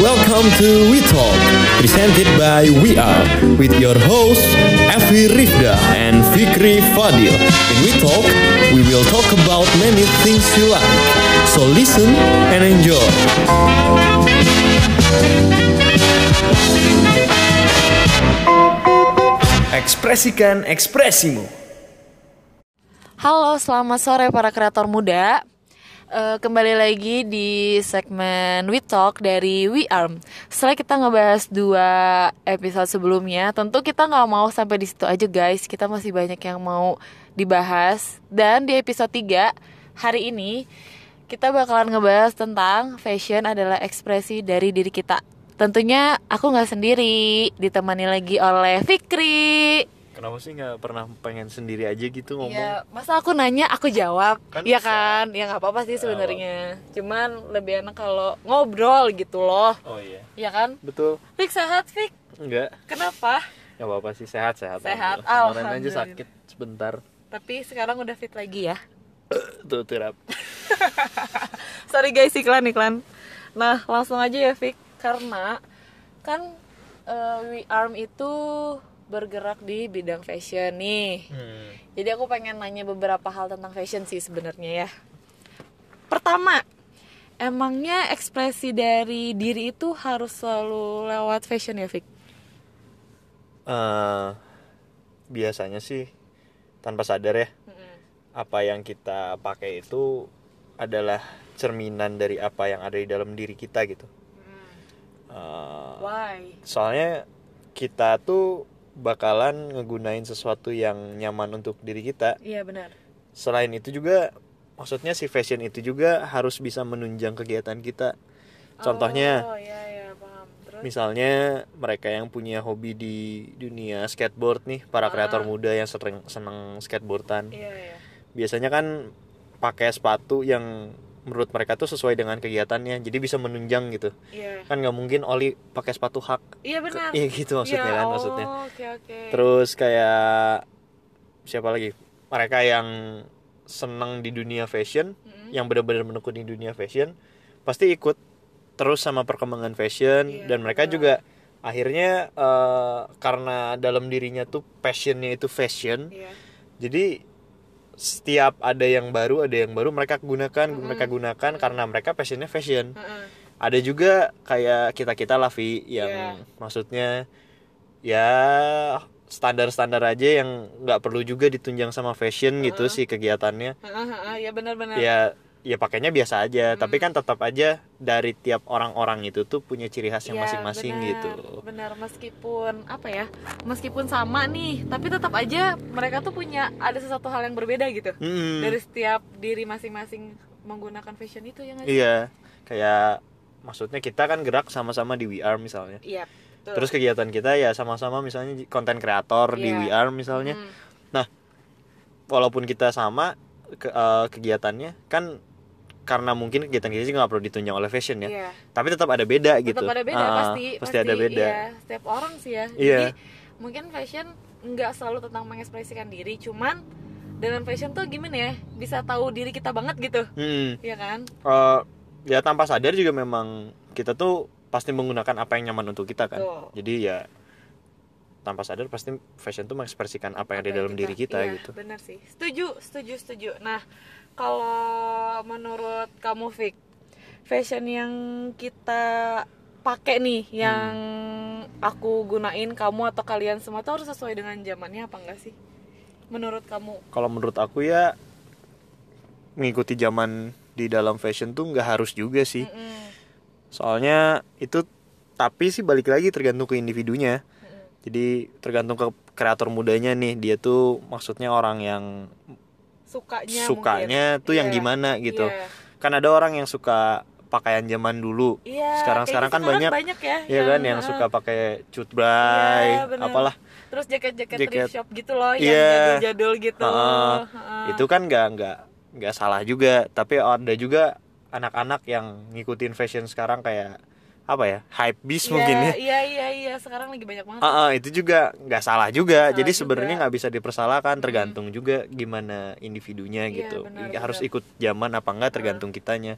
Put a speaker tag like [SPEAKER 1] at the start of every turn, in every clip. [SPEAKER 1] Welcome to We Talk, presented by We Are, with your hosts Evi Rifda and Fikri Fadil. In We Talk, we will talk about many things you like. So listen and enjoy.
[SPEAKER 2] Ekspresikan ekspresimu.
[SPEAKER 3] Halo, selamat sore para kreator muda. Eh, kembali lagi di segmen We Talk dari We Arm. Setelah kita ngebahas dua episode sebelumnya, tentu kita nggak mau sampai di situ aja guys. Kita masih banyak yang mau dibahas. Dan di episode 3 hari ini kita bakalan ngebahas tentang fashion adalah ekspresi dari diri kita. Tentunya aku nggak sendiri, ditemani lagi oleh Fikri.
[SPEAKER 2] Kenapa sih nggak pernah pengen sendiri aja gitu ngomong?
[SPEAKER 3] Ya, masa aku nanya aku jawab,
[SPEAKER 2] Kan
[SPEAKER 3] Iya
[SPEAKER 2] bisa. Iya,
[SPEAKER 3] kan? Ya nggak apa-apa sih sebenarnya. Cuman lebih enak kalau ngobrol gitu loh,
[SPEAKER 2] Oh iya.
[SPEAKER 3] Iya kan?
[SPEAKER 2] Betul.
[SPEAKER 3] Fik sehat, Fik.
[SPEAKER 2] Enggak.
[SPEAKER 3] Kenapa?
[SPEAKER 2] Nggak apa-apa sih sehat-sehat.
[SPEAKER 3] Sehat,
[SPEAKER 2] Alhamdulillah. Kemarin aja
[SPEAKER 3] alhamdulillah.
[SPEAKER 2] sakit sebentar.
[SPEAKER 3] Tapi sekarang udah fit lagi ya.
[SPEAKER 2] Tuh tirap.
[SPEAKER 3] Sorry guys, iklan iklan. Nah, langsung aja ya Fik, karena kan eh, We Arm itu bergerak di bidang fashion nih.
[SPEAKER 2] Hmm.
[SPEAKER 3] Jadi aku pengen nanya beberapa hal tentang fashion sih sebenarnya ya. Pertama, emangnya ekspresi dari diri itu harus selalu lewat fashion ya, Fik?
[SPEAKER 2] Eh, biasanya sih tanpa sadar ya apa yang kita pakai itu adalah cerminan dari apa yang ada di dalam diri kita gitu. Eh,
[SPEAKER 3] Why?
[SPEAKER 2] soalnya kita tuh bakalan ngegunain sesuatu yang nyaman untuk diri kita
[SPEAKER 3] Iya benar.
[SPEAKER 2] selain itu juga maksudnya si fashion itu juga harus bisa menunjang kegiatan kita contohnya
[SPEAKER 3] Oh iya iya paham. Terus
[SPEAKER 2] misalnya mereka yang punya hobi di dunia skateboard nih para kreator muda yang sering seneng skateboardan
[SPEAKER 3] iya iya.
[SPEAKER 2] biasanya kan pakai sepatu yang menurut mereka tuh sesuai dengan kegiatannya jadi bisa menunjang gitu
[SPEAKER 3] Iya.
[SPEAKER 2] kan nggak mungkin Oli pakai sepatu hak
[SPEAKER 3] Iya benar.
[SPEAKER 2] iya gitu maksudnya
[SPEAKER 3] Iya,
[SPEAKER 2] kan
[SPEAKER 3] oh,
[SPEAKER 2] maksudnya
[SPEAKER 3] Oke oke.
[SPEAKER 2] Terus kayak siapa lagi? Mereka yang seneng di dunia fashion, yang benar-benar menekuni dunia fashion, pasti ikut terus sama perkembangan fashion
[SPEAKER 3] Iya,
[SPEAKER 2] dan mereka juga akhirnya eh, karena dalam dirinya tuh passionnya itu fashion,
[SPEAKER 3] Iya.
[SPEAKER 2] jadi setiap ada yang baru ada yang baru mereka gunakan mereka gunakan karena mereka passionnya fashion
[SPEAKER 3] Heeh.
[SPEAKER 2] ada juga kayak kita kita lah Vi
[SPEAKER 3] Iya.
[SPEAKER 2] yang maksudnya ya standar-standar aja yang nggak perlu juga ditunjang sama fashion gitu sih kegiatannya
[SPEAKER 3] Heeh, heeh, Iya benar-benar.
[SPEAKER 2] ya ya pakainya biasa aja tapi kan tetap aja dari tiap orang-orang itu tuh punya ciri khas yang
[SPEAKER 3] Iya,
[SPEAKER 2] masing-masing
[SPEAKER 3] benar,
[SPEAKER 2] gitu
[SPEAKER 3] Benar meskipun apa ya? Meskipun sama nih, tapi tetap aja mereka tuh punya ada sesuatu hal yang berbeda gitu.
[SPEAKER 2] Mm-mm.
[SPEAKER 3] Dari setiap diri masing-masing menggunakan fashion itu ya nggak sih?
[SPEAKER 2] iya kayak maksudnya kita kan gerak sama-sama di We Are misalnya
[SPEAKER 3] Iya. betul.
[SPEAKER 2] terus kegiatan kita ya sama-sama misalnya konten kreator
[SPEAKER 3] Iya.
[SPEAKER 2] di We Are misalnya Nah,
[SPEAKER 3] Hmm,
[SPEAKER 2] walaupun kita sama ke- eh, kegiatannya kan karena mungkin kegiatan kita sih nggak perlu ditunjang oleh fashion ya
[SPEAKER 3] Iya.
[SPEAKER 2] tapi tetap ada beda gitu
[SPEAKER 3] Tetap ada beda
[SPEAKER 2] Ah,
[SPEAKER 3] pasti,
[SPEAKER 2] ada beda
[SPEAKER 3] iya, setiap orang sih ya.
[SPEAKER 2] Iya.
[SPEAKER 3] Jadi mungkin fashion nggak selalu tentang mengekspresikan diri, cuman dengan fashion tuh gimana ya? Bisa tahu diri kita banget gitu.
[SPEAKER 2] Hmm,
[SPEAKER 3] Iya kan?
[SPEAKER 2] eh, ya tanpa sadar juga memang kita tuh pasti menggunakan apa yang nyaman untuk kita kan
[SPEAKER 3] Betul.
[SPEAKER 2] jadi ya tanpa sadar pasti fashion tuh mengekspresikan apa yang ada di dalam diri kita
[SPEAKER 3] Iya,
[SPEAKER 2] gitu
[SPEAKER 3] benar sih setuju setuju setuju nah kalau menurut kamu Fik fashion yang kita pakai nih
[SPEAKER 2] Hmm.
[SPEAKER 3] yang aku gunain kamu atau kalian semua tuh harus sesuai dengan zamannya apa enggak sih menurut kamu
[SPEAKER 2] kalau menurut aku ya mengikuti zaman di dalam fashion tuh nggak harus juga sih
[SPEAKER 3] Mm-mm.
[SPEAKER 2] soalnya itu tapi sih balik lagi tergantung ke individunya jadi tergantung ke kreator mudanya nih dia tuh maksudnya orang yang
[SPEAKER 3] sukanya
[SPEAKER 2] sukanya
[SPEAKER 3] Ya, mungkin.
[SPEAKER 2] tuh yang
[SPEAKER 3] Iya,
[SPEAKER 2] gimana gitu
[SPEAKER 3] iya.
[SPEAKER 2] kan ada orang yang suka pakaian zaman dulu
[SPEAKER 3] Iya,
[SPEAKER 2] sekarang sekarang
[SPEAKER 3] kayaknya
[SPEAKER 2] kan banyak,
[SPEAKER 3] ya
[SPEAKER 2] Iya kan yang suka pakai cut bray
[SPEAKER 3] Iya, bener.
[SPEAKER 2] apalah
[SPEAKER 3] terus jaket-jaket
[SPEAKER 2] Jaket.
[SPEAKER 3] thrift shop gitu loh
[SPEAKER 2] Iya.
[SPEAKER 3] yang jadul-jadul gitu
[SPEAKER 2] Heeh.
[SPEAKER 3] Heeh.
[SPEAKER 2] itu kan nggak nggak nggak salah juga tapi ada juga anak-anak yang ngikutin fashion sekarang kayak apa ya hype beast
[SPEAKER 3] Iya,
[SPEAKER 2] mungkin ya
[SPEAKER 3] Iya iya iya sekarang lagi banyak banget.
[SPEAKER 2] Ah, ah, itu juga nggak salah juga.
[SPEAKER 3] Salah
[SPEAKER 2] Jadi
[SPEAKER 3] juga. Hmm.
[SPEAKER 2] sebenarnya nggak bisa dipersalahkan, tergantung juga gimana individunya
[SPEAKER 3] Iya,
[SPEAKER 2] gitu.
[SPEAKER 3] benar,
[SPEAKER 2] Harus
[SPEAKER 3] benar.
[SPEAKER 2] ikut zaman apa enggak tergantung kitanya.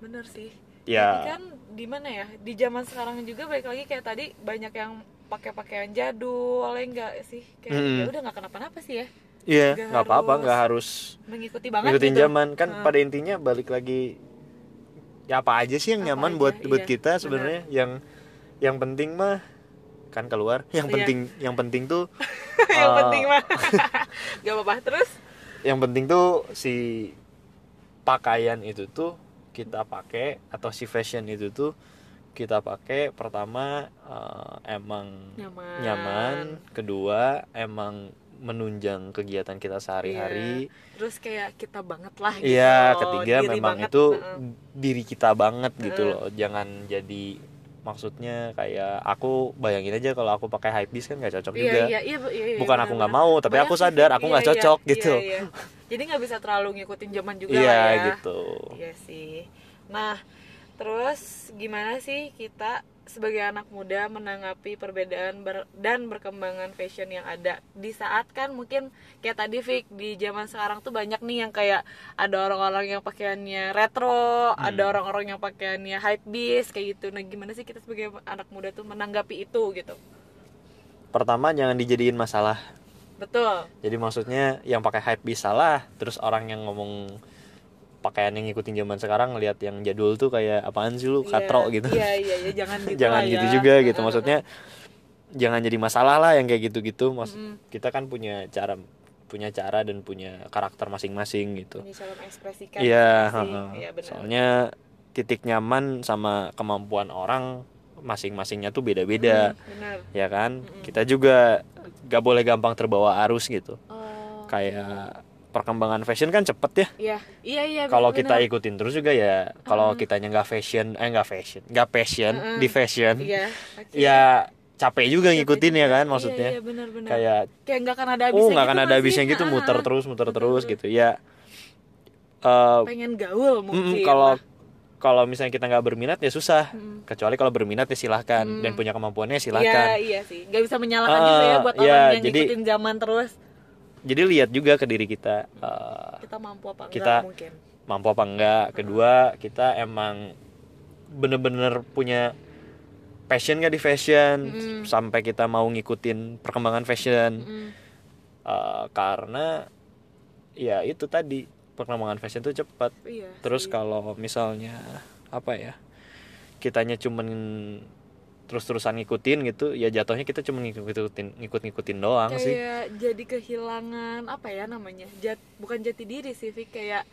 [SPEAKER 3] Bener sih.
[SPEAKER 2] ya
[SPEAKER 3] Tapi kan di mana ya? Di zaman sekarang juga balik lagi kayak tadi banyak yang pakai pakaian jadul, oleh enggak sih? Kayak
[SPEAKER 2] Mm-mm.
[SPEAKER 3] ya udah nggak kenapa-napa sih ya.
[SPEAKER 2] iya
[SPEAKER 3] nggak
[SPEAKER 2] nggak apa-apa
[SPEAKER 3] harus
[SPEAKER 2] nggak harus
[SPEAKER 3] Mengikuti banget
[SPEAKER 2] ngikutin
[SPEAKER 3] gitu.
[SPEAKER 2] zaman kan pada intinya balik lagi ya apa aja sih yang
[SPEAKER 3] Apa
[SPEAKER 2] nyaman
[SPEAKER 3] aja,
[SPEAKER 2] buat buat
[SPEAKER 3] iya,
[SPEAKER 2] kita
[SPEAKER 3] benar.
[SPEAKER 2] sebenarnya yang yang penting mah kan keluar yang
[SPEAKER 3] Iya.
[SPEAKER 2] penting yang penting tuh
[SPEAKER 3] yang
[SPEAKER 2] eh,
[SPEAKER 3] penting mah. gak apa-apa terus.
[SPEAKER 2] yang penting tuh si pakaian itu tuh kita pakai atau si fashion itu tuh kita pakai pertama eh, emang
[SPEAKER 3] Nyaman.
[SPEAKER 2] nyaman, kedua emang menunjang kegiatan kita sehari-hari
[SPEAKER 3] Iya. Terus kayak kita banget lah gitu.
[SPEAKER 2] Iya,
[SPEAKER 3] loh,
[SPEAKER 2] ketiga
[SPEAKER 3] diri
[SPEAKER 2] memang
[SPEAKER 3] banget,
[SPEAKER 2] itu
[SPEAKER 3] heeh.
[SPEAKER 2] diri kita banget gitu loh. Jangan jadi maksudnya kayak aku bayangin aja kalau aku pakai hype kan nggak cocok
[SPEAKER 3] Iya,
[SPEAKER 2] juga.
[SPEAKER 3] iya, iya, iya, iya,
[SPEAKER 2] Bukan aku
[SPEAKER 3] benar-benar.
[SPEAKER 2] nggak mau, tapi
[SPEAKER 3] Banyak
[SPEAKER 2] aku
[SPEAKER 3] sih,
[SPEAKER 2] sadar aku
[SPEAKER 3] iya,
[SPEAKER 2] nggak
[SPEAKER 3] iya,
[SPEAKER 2] cocok
[SPEAKER 3] iya,
[SPEAKER 2] gitu.
[SPEAKER 3] iya. Jadi nggak bisa terlalu ngikutin zaman juga
[SPEAKER 2] Iya
[SPEAKER 3] lah ya.
[SPEAKER 2] gitu.
[SPEAKER 3] Iya sih. Nah, terus gimana sih kita sebagai anak muda menanggapi perbedaan ber- dan berkembangan fashion yang ada di saat kan mungkin kayak tadi Vic di zaman sekarang tuh banyak nih yang kayak ada orang-orang yang pakaiannya
[SPEAKER 2] Hmm.
[SPEAKER 3] retro, ada orang-orang yang pakaiannya hype beast kayak gitu. Nah, gimana sih kita sebagai anak muda tuh menanggapi itu gitu?
[SPEAKER 2] Pertama jangan dijadiin masalah.
[SPEAKER 3] Betul.
[SPEAKER 2] Jadi maksudnya yang pakai hype salah, terus orang yang ngomong pakaian yang ngikutin zaman sekarang ngelihat yang jadul tuh kayak apaan sih lu
[SPEAKER 3] Iya,
[SPEAKER 2] katro gitu.
[SPEAKER 3] Iya, iya, iya, jangan gitu.
[SPEAKER 2] jangan
[SPEAKER 3] lah
[SPEAKER 2] gitu
[SPEAKER 3] ya.
[SPEAKER 2] juga gitu maksudnya jangan jadi masalah lah yang kayak gitu-gitu maksud kita kan punya cara punya cara dan punya karakter masing-masing gitu
[SPEAKER 3] Ini cara mengekspresikan.
[SPEAKER 2] iya
[SPEAKER 3] sih.
[SPEAKER 2] heeh.
[SPEAKER 3] Iya, benar.
[SPEAKER 2] soalnya titik nyaman sama kemampuan orang masing-masingnya tuh beda-beda
[SPEAKER 3] benar.
[SPEAKER 2] ya kan kita juga gak boleh gampang terbawa arus gitu
[SPEAKER 3] Oh,
[SPEAKER 2] kayak perkembangan fashion kan cepet ya
[SPEAKER 3] iya, iya, iya.
[SPEAKER 2] kalau kita
[SPEAKER 3] benar-benar.
[SPEAKER 2] ikutin terus juga ya kalau kitanya nggak fashion eh nggak fashion nggak passion di fashion
[SPEAKER 3] Iya, oke.
[SPEAKER 2] ya capek juga ngikutin ya kan maksudnya
[SPEAKER 3] Iya, iya, benar-benar. Kayak
[SPEAKER 2] kayak
[SPEAKER 3] nggak akan ada habisnya.
[SPEAKER 2] oh nggak akan
[SPEAKER 3] gitu
[SPEAKER 2] ada
[SPEAKER 3] sih?
[SPEAKER 2] habisnya gitu
[SPEAKER 3] Ah,
[SPEAKER 2] muter
[SPEAKER 3] ah,
[SPEAKER 2] terus muter
[SPEAKER 3] Betul,
[SPEAKER 2] terus
[SPEAKER 3] betul.
[SPEAKER 2] gitu ya Eh,
[SPEAKER 3] Pengen gaul mungkin. Iya,
[SPEAKER 2] mm, kalau kalau misalnya kita nggak berminat ya susah kecuali kalau berminat ya silahkan dan punya kemampuannya
[SPEAKER 3] Iya,
[SPEAKER 2] silahkan
[SPEAKER 3] iya sih. Nggak bisa menyalahkan
[SPEAKER 2] Ah,
[SPEAKER 3] juga ya buat
[SPEAKER 2] iya,
[SPEAKER 3] orang yang
[SPEAKER 2] jadi-
[SPEAKER 3] ngikutin zaman terus.
[SPEAKER 2] jadi lihat juga ke diri kita eh,
[SPEAKER 3] Kita mampu apa enggak
[SPEAKER 2] Kita-
[SPEAKER 3] mungkin.
[SPEAKER 2] mampu apa enggak kedua kita emang bener-bener punya passion nggak di fashion sampai kita mau ngikutin perkembangan fashion
[SPEAKER 3] Mm.
[SPEAKER 2] Eh, karena ya itu tadi perkembangan fashion tuh cepat
[SPEAKER 3] Iya.
[SPEAKER 2] terus kalau misalnya apa ya kitanya cuman terus-terusan ngikutin gitu ya jatuhnya kita cuma ngikutin ngikut-ngikutin
[SPEAKER 3] Iya,
[SPEAKER 2] doang sih
[SPEAKER 3] kayak jadi kehilangan apa ya namanya jat bukan jati diri sih Vic kayak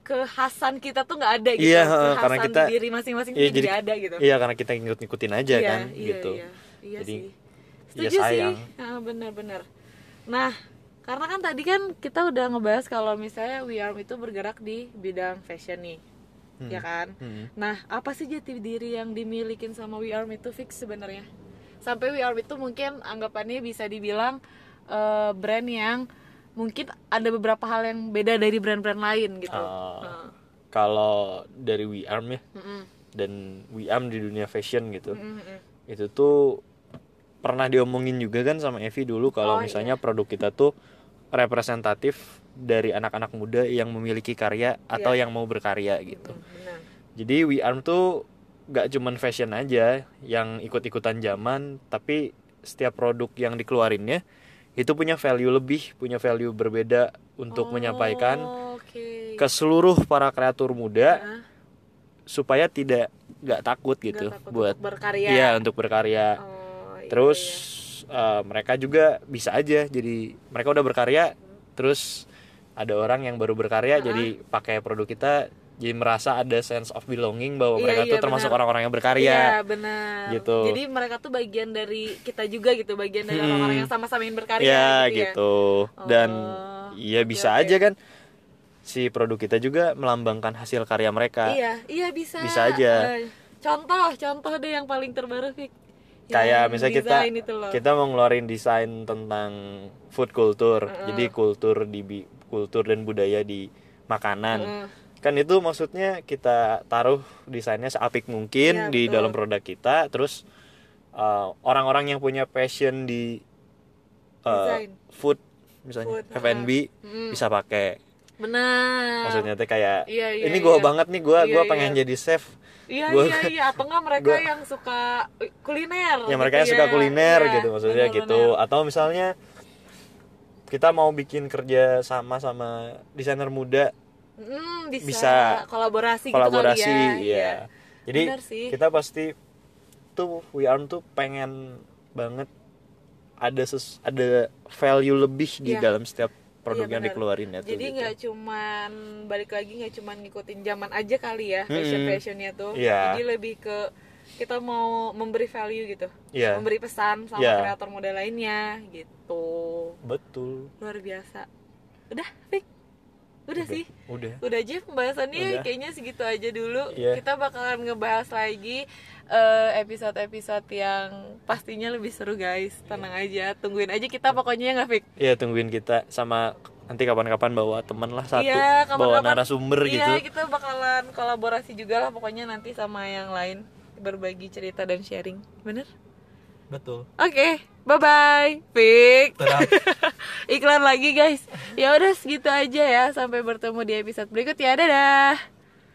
[SPEAKER 3] kekhasan kita tuh nggak ada gitu
[SPEAKER 2] Iya, heeh,
[SPEAKER 3] kekhasan
[SPEAKER 2] karena kita-
[SPEAKER 3] di diri masing-masing
[SPEAKER 2] Iya,
[SPEAKER 3] tuh
[SPEAKER 2] jadi-
[SPEAKER 3] nggak ada gitu
[SPEAKER 2] iya karena kita ngikut-ngikutin aja
[SPEAKER 3] Iya,
[SPEAKER 2] kan
[SPEAKER 3] iya,
[SPEAKER 2] gitu
[SPEAKER 3] iya, iya
[SPEAKER 2] Jadi,
[SPEAKER 3] sih.
[SPEAKER 2] ya
[SPEAKER 3] setuju sih
[SPEAKER 2] sayang.
[SPEAKER 3] Ah, benar-benar nah karena kan tadi kan kita udah ngebahas kalau misalnya We Are itu bergerak di bidang fashion nih ya kan
[SPEAKER 2] Hmm.
[SPEAKER 3] Nah, apa sih jati diri yang dimilikin sama We Arm itu fix sebenarnya? Sampai We Arm itu mungkin anggapannya bisa dibilang eh, brand yang mungkin ada beberapa hal yang beda dari brand-brand lain gitu.
[SPEAKER 2] Ah.
[SPEAKER 3] Heeh.
[SPEAKER 2] kalau dari We Arm ya
[SPEAKER 3] Mm-mm.
[SPEAKER 2] dan We Arm di dunia fashion gitu
[SPEAKER 3] Mm-mm.
[SPEAKER 2] itu tuh pernah diomongin juga kan sama Evi dulu
[SPEAKER 3] Oh,
[SPEAKER 2] kalau misalnya produk kita tuh representatif dari anak-anak muda yang memiliki karya atau
[SPEAKER 3] Iya.
[SPEAKER 2] yang mau berkarya gitu.
[SPEAKER 3] Mm, benar.
[SPEAKER 2] Jadi We Arm tuh gak cuman fashion aja yang ikut-ikutan zaman, tapi setiap produk yang dikeluarinnya itu punya value lebih, punya value berbeda untuk menyampaikan
[SPEAKER 3] Oh, Oke.
[SPEAKER 2] ke seluruh para kreatur muda
[SPEAKER 3] Nah,
[SPEAKER 2] supaya tidak nggak takut gitu
[SPEAKER 3] nggak takut
[SPEAKER 2] buat
[SPEAKER 3] untuk berkarya.
[SPEAKER 2] iya untuk berkarya.
[SPEAKER 3] Oh, iya,
[SPEAKER 2] Terus
[SPEAKER 3] iya.
[SPEAKER 2] eh, mereka juga bisa aja jadi mereka udah berkarya, terus ada orang yang baru berkarya jadi pakai produk kita jadi merasa ada sense of belonging bahwa
[SPEAKER 3] Iya,
[SPEAKER 2] mereka
[SPEAKER 3] iya,
[SPEAKER 2] tuh termasuk
[SPEAKER 3] benar.
[SPEAKER 2] orang-orang yang berkarya.
[SPEAKER 3] Iya benar.
[SPEAKER 2] Gitu.
[SPEAKER 3] Jadi mereka tuh bagian dari kita juga gitu, bagian dari
[SPEAKER 2] Mm-mm.
[SPEAKER 3] orang-orang yang sama-sama ingin berkarya
[SPEAKER 2] Iya
[SPEAKER 3] gitu. ya.
[SPEAKER 2] gitu. Dan
[SPEAKER 3] Oh,
[SPEAKER 2] iya
[SPEAKER 3] oke,
[SPEAKER 2] bisa
[SPEAKER 3] oke.
[SPEAKER 2] aja kan si produk kita juga melambangkan hasil karya mereka.
[SPEAKER 3] Iya, iya bisa.
[SPEAKER 2] Bisa aja.
[SPEAKER 3] Eh, contoh, contoh deh yang paling terbaru Fik.
[SPEAKER 2] Kayak
[SPEAKER 3] Ya, Yang
[SPEAKER 2] misalnya kita
[SPEAKER 3] desain itu loh.
[SPEAKER 2] kita mau ngeluarin desain tentang food culture. Jadi kultur di bi- kultur dan budaya di makanan. Kan itu maksudnya kita taruh desainnya seapik
[SPEAKER 3] Iya,
[SPEAKER 2] mungkin di
[SPEAKER 3] betul.
[SPEAKER 2] dalam produk kita terus uh, orang-orang yang punya passion di uh,
[SPEAKER 3] Desain.
[SPEAKER 2] food misalnya
[SPEAKER 3] Food,
[SPEAKER 2] F&B bisa pakai
[SPEAKER 4] benar
[SPEAKER 2] maksudnya teh kayak
[SPEAKER 3] Iya, iya,
[SPEAKER 2] ini gue
[SPEAKER 3] iya.
[SPEAKER 2] banget nih gue
[SPEAKER 3] Iya,
[SPEAKER 2] gue
[SPEAKER 3] iya.
[SPEAKER 2] pengen jadi chef
[SPEAKER 3] Iya
[SPEAKER 2] Gua-
[SPEAKER 3] iya iya atau enggak mereka
[SPEAKER 2] gua-
[SPEAKER 3] yang suka eh, kuliner.
[SPEAKER 2] ya
[SPEAKER 3] gitu
[SPEAKER 2] mereka yang suka
[SPEAKER 3] ya.
[SPEAKER 2] kuliner
[SPEAKER 3] Iya,
[SPEAKER 2] gitu maksudnya
[SPEAKER 3] benar,
[SPEAKER 2] gitu
[SPEAKER 3] benar.
[SPEAKER 2] atau misalnya kita mau bikin kerja sama sama desainer muda
[SPEAKER 3] Mm, bisa,
[SPEAKER 2] Bisa.
[SPEAKER 3] kolaborasi,
[SPEAKER 2] kolaborasi
[SPEAKER 3] gitu kali ya.
[SPEAKER 2] ya. jadi
[SPEAKER 3] Benar sih.
[SPEAKER 2] kita pasti tuh we are tuh pengen banget ada ses, ada value lebih di
[SPEAKER 3] Iya.
[SPEAKER 2] dalam setiap
[SPEAKER 3] Iya,
[SPEAKER 2] produk yang
[SPEAKER 3] benar.
[SPEAKER 2] dikeluarin ya tuh
[SPEAKER 3] Jadi
[SPEAKER 2] gitu.
[SPEAKER 3] nggak cuman balik lagi nggak cuman ngikutin zaman aja kali ya
[SPEAKER 2] Mm-mm.
[SPEAKER 3] fashion fashionnya tuh.
[SPEAKER 2] Hmm. Iya.
[SPEAKER 3] Jadi lebih ke kita mau memberi value gitu,
[SPEAKER 2] Iya.
[SPEAKER 3] memberi pesan sama
[SPEAKER 2] Iya.
[SPEAKER 3] kreator model lainnya gitu.
[SPEAKER 2] betul
[SPEAKER 3] Luar biasa. Udah, Fik. Udah, sih.
[SPEAKER 2] udah
[SPEAKER 3] Udah aja pembahasannya
[SPEAKER 2] Udah.
[SPEAKER 3] kayaknya segitu aja dulu.
[SPEAKER 2] Iya.
[SPEAKER 3] Kita bakalan ngebahas lagi eh, episode-episode yang pastinya lebih seru guys. Tenang
[SPEAKER 2] Iya.
[SPEAKER 3] aja, tungguin aja kita pokoknya ya nggak Fik?
[SPEAKER 2] ya tungguin kita sama nanti kapan-kapan bawa temen lah satu
[SPEAKER 3] Iya, kapan-kapan.
[SPEAKER 2] bawa narasumber gitu
[SPEAKER 3] Iya, kita bakalan kolaborasi juga lah pokoknya nanti sama yang lain berbagi cerita dan sharing. Bener?
[SPEAKER 2] betul
[SPEAKER 3] Oke, bye-bye. Fik.
[SPEAKER 2] Terang.
[SPEAKER 3] Iklan lagi guys. Ya udah segitu aja ya. Sampai bertemu di episode berikut ya. Dadah.